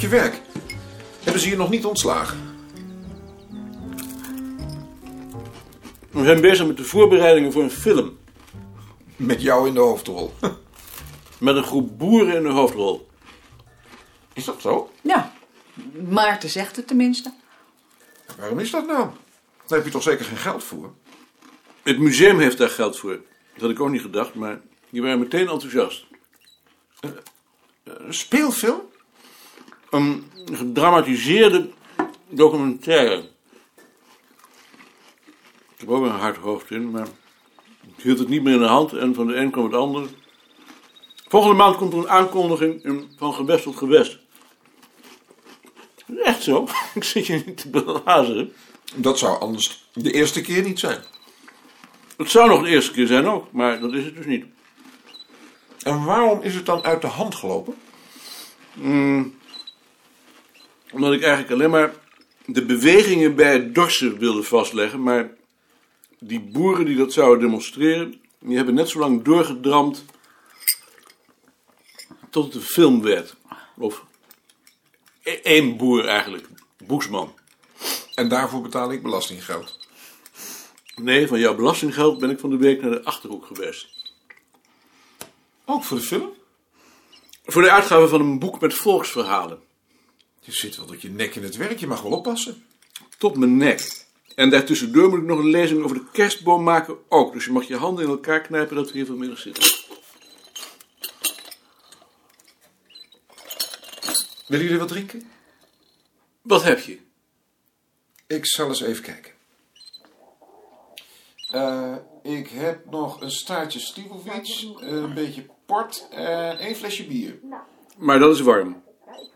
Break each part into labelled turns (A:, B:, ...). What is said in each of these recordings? A: je werk. Hebben ze je nog niet ontslagen?
B: We zijn bezig met de voorbereidingen voor een film.
A: Met jou in de hoofdrol.
B: Met een groep boeren in de hoofdrol.
A: Is dat zo?
C: Ja, Maarten zegt het tenminste.
A: Waarom is dat nou? Daar heb je toch zeker geen geld voor?
B: Het museum heeft daar geld voor. Dat had ik ook niet gedacht, maar die waren meteen enthousiast.
A: Een speelfilm?
B: Een gedramatiseerde documentaire. Ik heb ook een hard hoofd in, maar ik hield het niet meer in de hand en van de een kwam het ander. Volgende maand komt er een aankondiging in- van gewest tot gewest. Echt zo? Ik zit je niet te blazen.
A: Dat zou anders de eerste keer niet zijn.
B: Het zou nog de eerste keer zijn ook, maar dat is het dus niet.
A: En waarom is het dan uit de hand gelopen?
B: Omdat ik eigenlijk alleen maar de bewegingen bij het dorsen wilde vastleggen. Maar die boeren die dat zouden demonstreren, die hebben net zo lang doorgedramd tot het een film werd. Of e- één boer eigenlijk, Boesman.
A: En daarvoor betaal ik belastinggeld.
B: Nee, van jouw belastinggeld ben ik van de week naar de Achterhoek geweest.
A: Ook voor de film?
B: Voor de uitgave van een boek met volksverhalen.
A: Je zit wel dat je nek in het werk, je mag wel oppassen.
B: Tot mijn nek. En daartussendoor moet ik nog een lezing over de kerstboom maken ook. Dus je mag je handen in elkaar knijpen dat we hier vanmiddag zitten.
A: Willen jullie wat drinken?
B: Wat heb je?
A: Ik zal eens even kijken. Eh, ik heb nog een staartje Stiebelwitz, een beetje port en één flesje bier.
B: Maar dat is warm.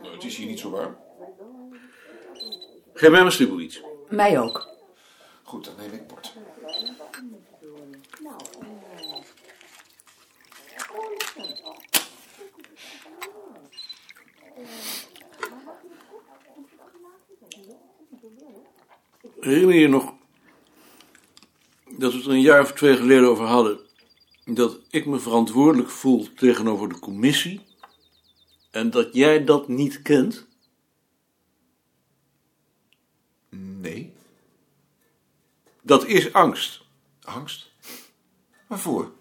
A: Nou, het is hier niet zo warm.
B: Geef mij maar stibbel iets.
C: Mij ook.
A: Goed, dan neem ik port.
B: Herinner je je nog dat we het er een jaar of twee geleden over hadden... dat ik me verantwoordelijk voel tegenover de commissie... en dat jij dat niet kent?
A: Nee.
B: Dat is angst.
A: Angst? Waarvoor?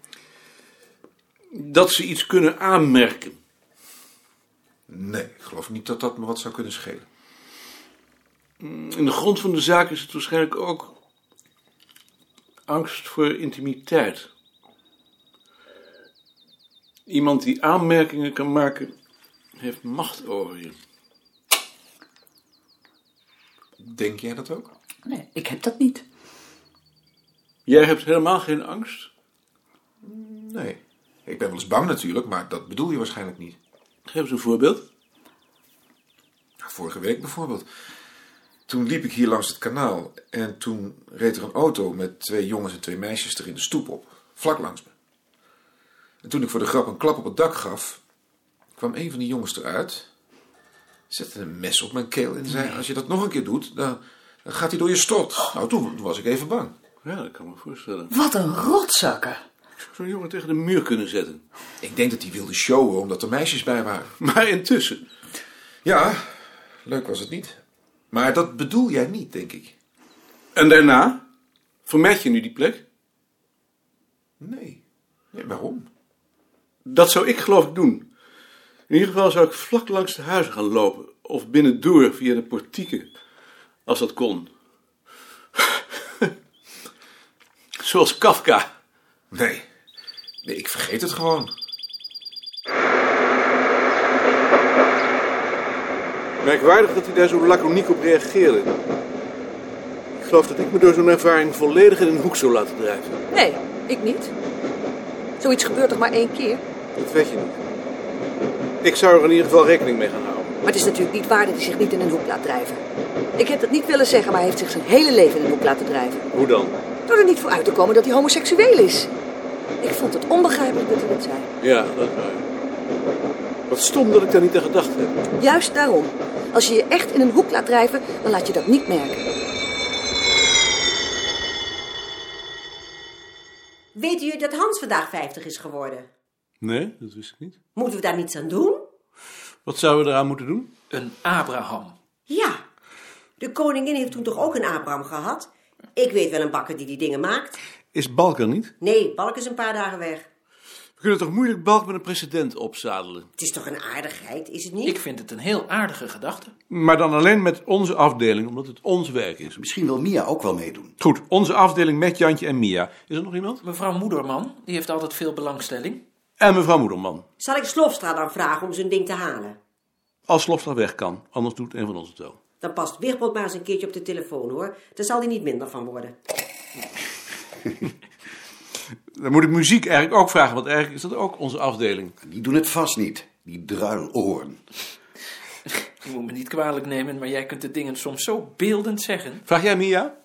B: Dat ze iets kunnen aanmerken.
A: Nee, ik geloof niet dat dat me wat zou kunnen schelen.
B: In de grond van de zaak is het waarschijnlijk ook angst voor intimiteit. Iemand die aanmerkingen kan maken, heeft macht over je.
A: Denk jij dat ook?
C: Nee, ik heb dat niet.
B: Jij hebt helemaal geen angst?
A: Nee. Ik ben wel eens bang natuurlijk, maar dat bedoel je waarschijnlijk niet.
B: Geef eens een voorbeeld.
A: Nou, Vorige week bijvoorbeeld. Toen liep ik hier langs het kanaal en toen reed er een auto met twee jongens en twee meisjes er in de stoep op, vlak langs me. En toen ik voor de grap een klap op het dak gaf, kwam een van die jongens eruit, zette een mes op mijn keel en zei: Als je dat nog een keer doet, dan, dan gaat hij door je strot. Nou, toen was ik even bang.
B: Ja, dat kan ik me voorstellen.
C: Wat een rotzakken.
B: Ik zou zo'n jongen tegen de muur kunnen zetten.
A: Ik denk dat hij wilde showen omdat er meisjes bij waren.
B: Maar intussen,
A: Ja, leuk was het niet. Maar dat bedoel jij niet, denk ik.
B: en daarna, vermijd je nu die plek?
A: Nee. nee waarom?
B: Dat zou ik geloof ik doen. In ieder geval zou ik vlak langs de huizen gaan lopen. Of binnendoor via de portieken. Als dat kon. Zoals Kafka.
A: Nee. Nee, ik vergeet het gewoon.
B: Merkwaardig dat hij daar zo laconiek op reageerde. Ik geloof dat ik me door zo'n ervaring volledig in een hoek zou laten drijven.
D: Nee, ik niet. Zoiets gebeurt toch maar één keer?
B: Dat weet je niet. Ik zou er in ieder geval rekening mee gaan houden.
D: Maar het is natuurlijk niet waar dat hij zich niet in een hoek laat drijven. Ik heb dat niet willen zeggen, maar hij heeft zich zijn hele leven in een hoek laten drijven.
B: Hoe dan?
D: Door er niet voor uit te komen dat hij homoseksueel is. Ik vond het onbegrijpelijk dat hij dat zei.
B: Ja, dat waar. Wat stom dat ik daar niet aan gedacht heb.
D: Juist daarom. Als je je echt in een hoek laat drijven, dan laat je dat niet merken.
E: Weet u dat Hans vandaag 50 is geworden?
B: Nee, dat wist ik niet.
E: Moeten we daar niets aan doen?
B: Wat zouden we eraan moeten doen?
F: Een Abraham.
E: Ja, de koningin heeft toen toch ook een Abraham gehad? Ik weet wel een bakker die die dingen maakt.
B: Is Balk er niet?
E: Nee, Balk is een paar dagen weg.
B: We kunnen toch moeilijk Balk met een precedent opzadelen?
E: Het is toch een aardigheid, is het niet?
F: Ik vind het een heel aardige gedachte.
B: Maar dan alleen met onze afdeling, omdat het ons werk is.
G: Misschien wil Mia ook wel meedoen.
B: Goed, onze afdeling met Jantje en Mia. Is er nog iemand?
F: Mevrouw Moederman, die heeft altijd veel belangstelling.
B: En mevrouw Moederman.
E: Zal ik Slofstra dan vragen om zijn ding te halen?
B: Als Slofstra weg kan, anders doet een van ons het wel.
E: Dan past Wigbold maar eens een keertje op de telefoon, hoor. Daar zal hij niet minder van worden.
B: Dan moet ik muziek eigenlijk ook vragen, want eigenlijk is dat ook onze afdeling.
G: Die doen het vast niet, die druiloren.
F: Je moet me niet kwalijk nemen, maar jij kunt de dingen soms zo beeldend zeggen.
B: Vraag jij Mia?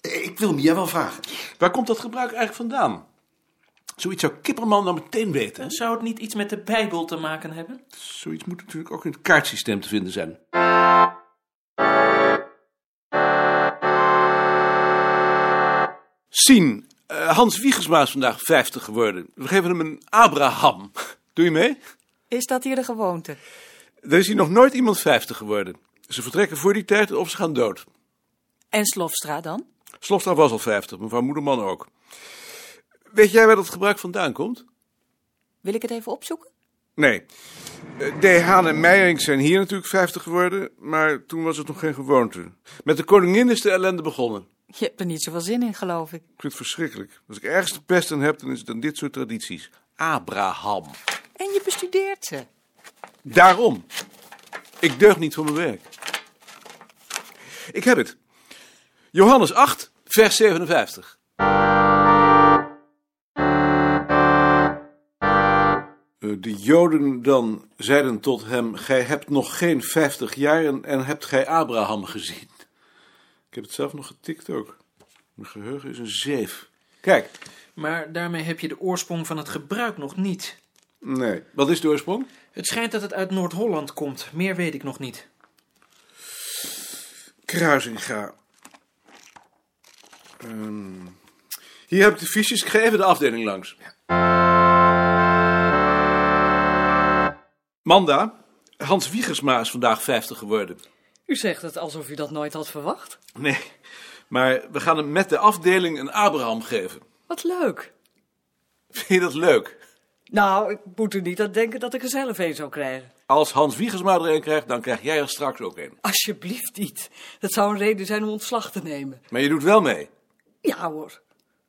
G: Ik wil Mia wel vragen.
B: Waar komt dat gebruik eigenlijk vandaan? Zoiets zou Kipperman dan meteen weten. hè?
F: Zou het niet iets met de Bijbel te maken hebben?
B: Zoiets moet natuurlijk ook in het kaartsysteem te vinden zijn. Sien, eh, Hans Wiegersma is vandaag 50 geworden. We geven hem een Abraham. Doe je mee?
H: Is dat hier de gewoonte?
B: Er is hier nog nooit iemand 50 geworden. Ze vertrekken voor die tijd of ze gaan dood.
H: En Slofstra dan?
B: Slofstra was al 50, mevrouw Moederman ook. Weet jij waar dat gebruik vandaan komt?
H: Wil ik het even opzoeken?
B: Nee. Eh, De Haan en Meijering zijn hier natuurlijk 50 geworden, maar toen was het nog geen gewoonte. Met de koningin is de ellende begonnen.
H: Je hebt er niet zoveel zin in, geloof ik.
B: Ik vind het verschrikkelijk. Als ik ergens de pest aan heb, dan is het dan dit soort tradities. Abraham.
H: En je bestudeert ze.
B: Daarom. Ik deug niet voor mijn werk. Ik heb het. Johannes 8, vers 57. Eh, De Joden dan zeiden tot hem: Gij hebt nog geen vijftig jaar en, en hebt gij Abraham gezien. Ik heb het zelf nog getikt ook. Mijn geheugen is een zeef. Kijk,
F: Maar daarmee heb je de oorsprong van het gebruik nog niet.
B: nee. Wat is de oorsprong?
F: Het schijnt dat het uit Noord-Holland komt, meer weet ik nog niet.
B: Kruisinga. Ehm, hier heb ik de fiches. Ik ga even de afdeling langs. Manda, Hans Wiegersma is vandaag 50 geworden.
H: U zegt het alsof u dat nooit had verwacht.
B: Nee, maar we gaan hem met de afdeling een Abraham geven.
H: Wat leuk.
B: Vind je dat leuk?
H: Nou, ik moet er niet aan denken dat ik er zelf een zou krijgen.
B: Als Hans Wiegersma er een krijgt, dan krijg jij er straks ook een.
H: Alsjeblieft niet. Dat zou een reden zijn om ontslag te nemen.
B: Maar je doet wel mee.
H: Ja hoor.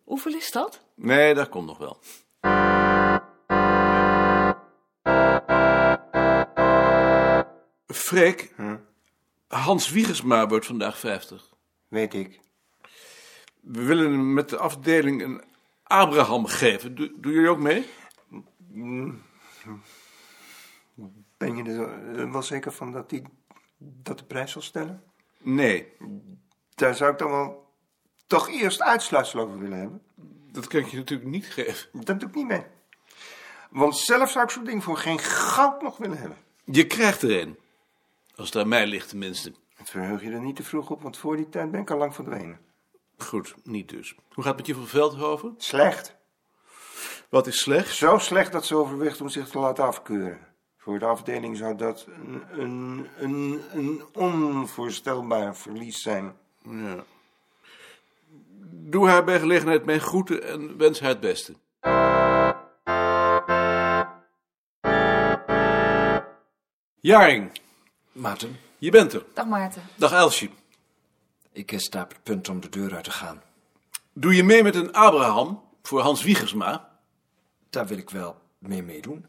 H: Hoeveel is dat?
B: Nee, dat komt nog wel. Freek, Hans Wiegersma wordt vandaag 50.
I: Weet ik.
B: We willen hem met de afdeling een Abraham geven. Doe, doen jullie ook mee?
I: Ben je er eh, wel zeker van dat die dat de prijs zal stellen?
B: Nee,
I: Daar zou ik dan wel toch eerst uitsluitsel over willen hebben.
B: dat kan ik je natuurlijk niet geven.
I: Dat doe ik niet mee. Want zelf zou ik zo'n ding voor geen goud nog willen hebben.
B: Je krijgt er een. Als het aan mij ligt tenminste.
I: Het verheug je er niet te vroeg op, want voor die tijd ben ik al lang verdwenen.
B: Goed, niet dus. Hoe gaat het met je van Veldhoven?
I: Slecht.
B: Wat is slecht?
I: Zo slecht dat ze overweegt om zich te laten afkeuren. Voor de afdeling zou dat een, een, een, een onvoorstelbaar verlies zijn.
B: Ja. Doe haar bij gelegenheid mijn groeten en wens haar het beste. Jaring,
J: Maarten,
B: je bent er.
H: Dag Maarten.
B: Dag Elsje.
J: ik eh, sta op het punt om de deur uit te gaan.
B: Doe je mee met een Abraham voor Hans Wiegersma?
J: Daar wil ik wel mee meedoen.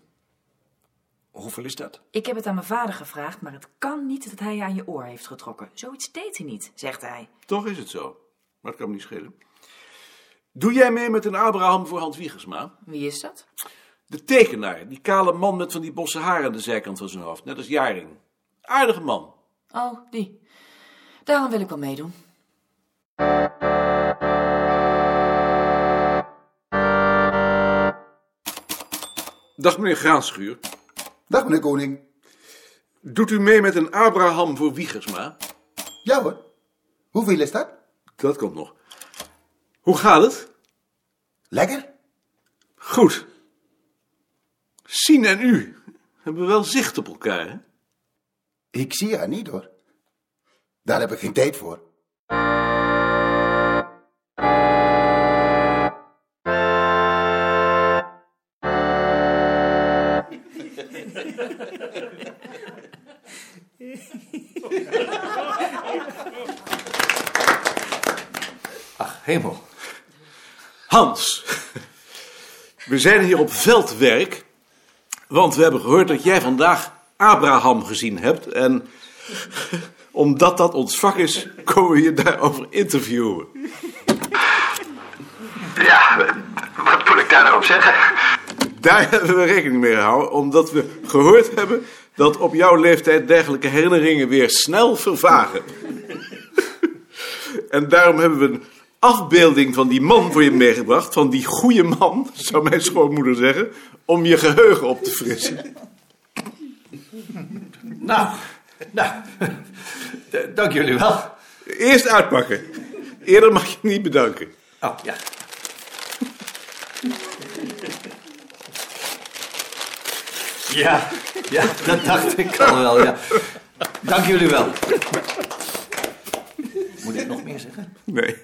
J: Hoeveel is dat?
K: Ik heb het aan mijn vader gevraagd, maar het kan niet dat hij je aan je oor heeft getrokken. Zoiets deed hij niet, zegt hij.
B: Toch is het zo. Maar het kan me niet schelen. Doe jij mee met een Abraham voor Hans Wiegersma?
K: Wie is dat?
B: De tekenaar, die kale man met van die bosse haar aan de zijkant van zijn hoofd, net als Jaring. Aardige man.
K: Oh, die. Daarom wil ik wel meedoen.
B: Dag meneer Graanschuur.
G: Dag meneer Koning.
B: Doet u mee met een Abraham voor Wiegersma?
G: Ja hoor. Hoeveel is dat?
B: Dat komt nog. Hoe gaat het?
G: Lekker?
B: Goed. Sien en u hebben wel zicht op elkaar, hè?
G: Ik zie haar niet hoor. Daar heb ik geen tijd voor.
B: Ach, hemel. Hans, we zijn hier op veldwerk, want we hebben gehoord dat jij vandaag Abraham gezien hebt. En omdat dat ons vak is, komen we je daarover interviewen.
L: Ja, wat moet ik daar nou op zeggen?
B: Daar hebben we rekening mee gehouden, omdat we gehoord hebben dat op jouw leeftijd dergelijke herinneringen weer snel vervagen. En daarom hebben we een afbeelding van die man voor je meegebracht, van die goede man, zou mijn schoonmoeder zeggen, om je geheugen op te frissen.
J: Nou, nou, dank jullie wel.
B: Eerst uitpakken. Eerder mag je niet bedanken.
J: Oh, ja. Ja, ja, dat dacht ik al wel, ja. Dank jullie wel. Moet ik nog meer zeggen?
B: Nee.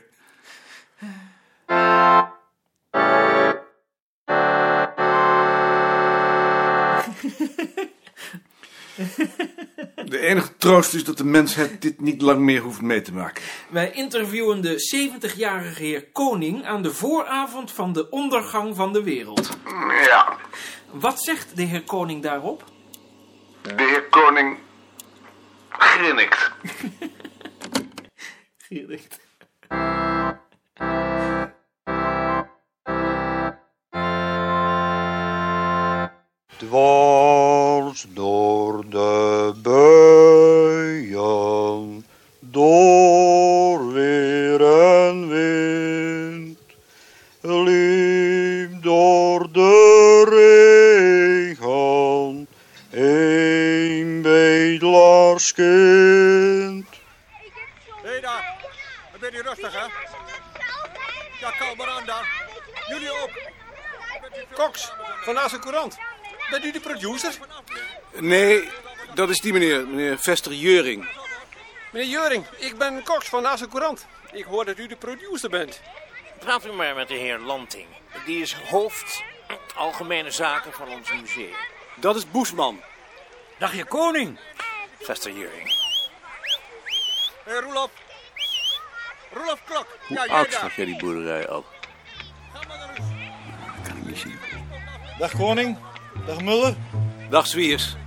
B: De enige troost is dat de mensheid dit niet lang meer hoeft mee te maken.
F: Wij interviewen de 70-jarige heer Koning aan de vooravond van de ondergang van de wereld.
L: Ja,
F: Wat zegt de heer Koning daarop?
L: de heer Koning grinnikt.
M: dwars door de buien, door weer en wind, liep door de regen, een bedelaarskind.
N: Hé daar, een beetje rustig hè. Ja, kalm maar aan daar. Jullie ook. Cox, van Naast de Courant.
B: nou,
N: Bent u de producer?
B: Nee, dat is die meneer, meneer Vester Jeuring.
N: Meneer Jeuring, ik ben Cox van Naast de Courant. Ik hoor dat u de producer bent.
O: Praat u maar met de heer Lanting. Die is hoofd algemene zaken van ons museum.
N: Dat is Boesman.
O: Dag je koning. Vester Juring.
N: Hé, Roelof. Roelof Klok.
B: Hoe
N: ja, jij
B: oud
N: daar.
B: schat jij die boerderij al?
N: Dag koning. Dag Muller.
B: Dag Zwiers.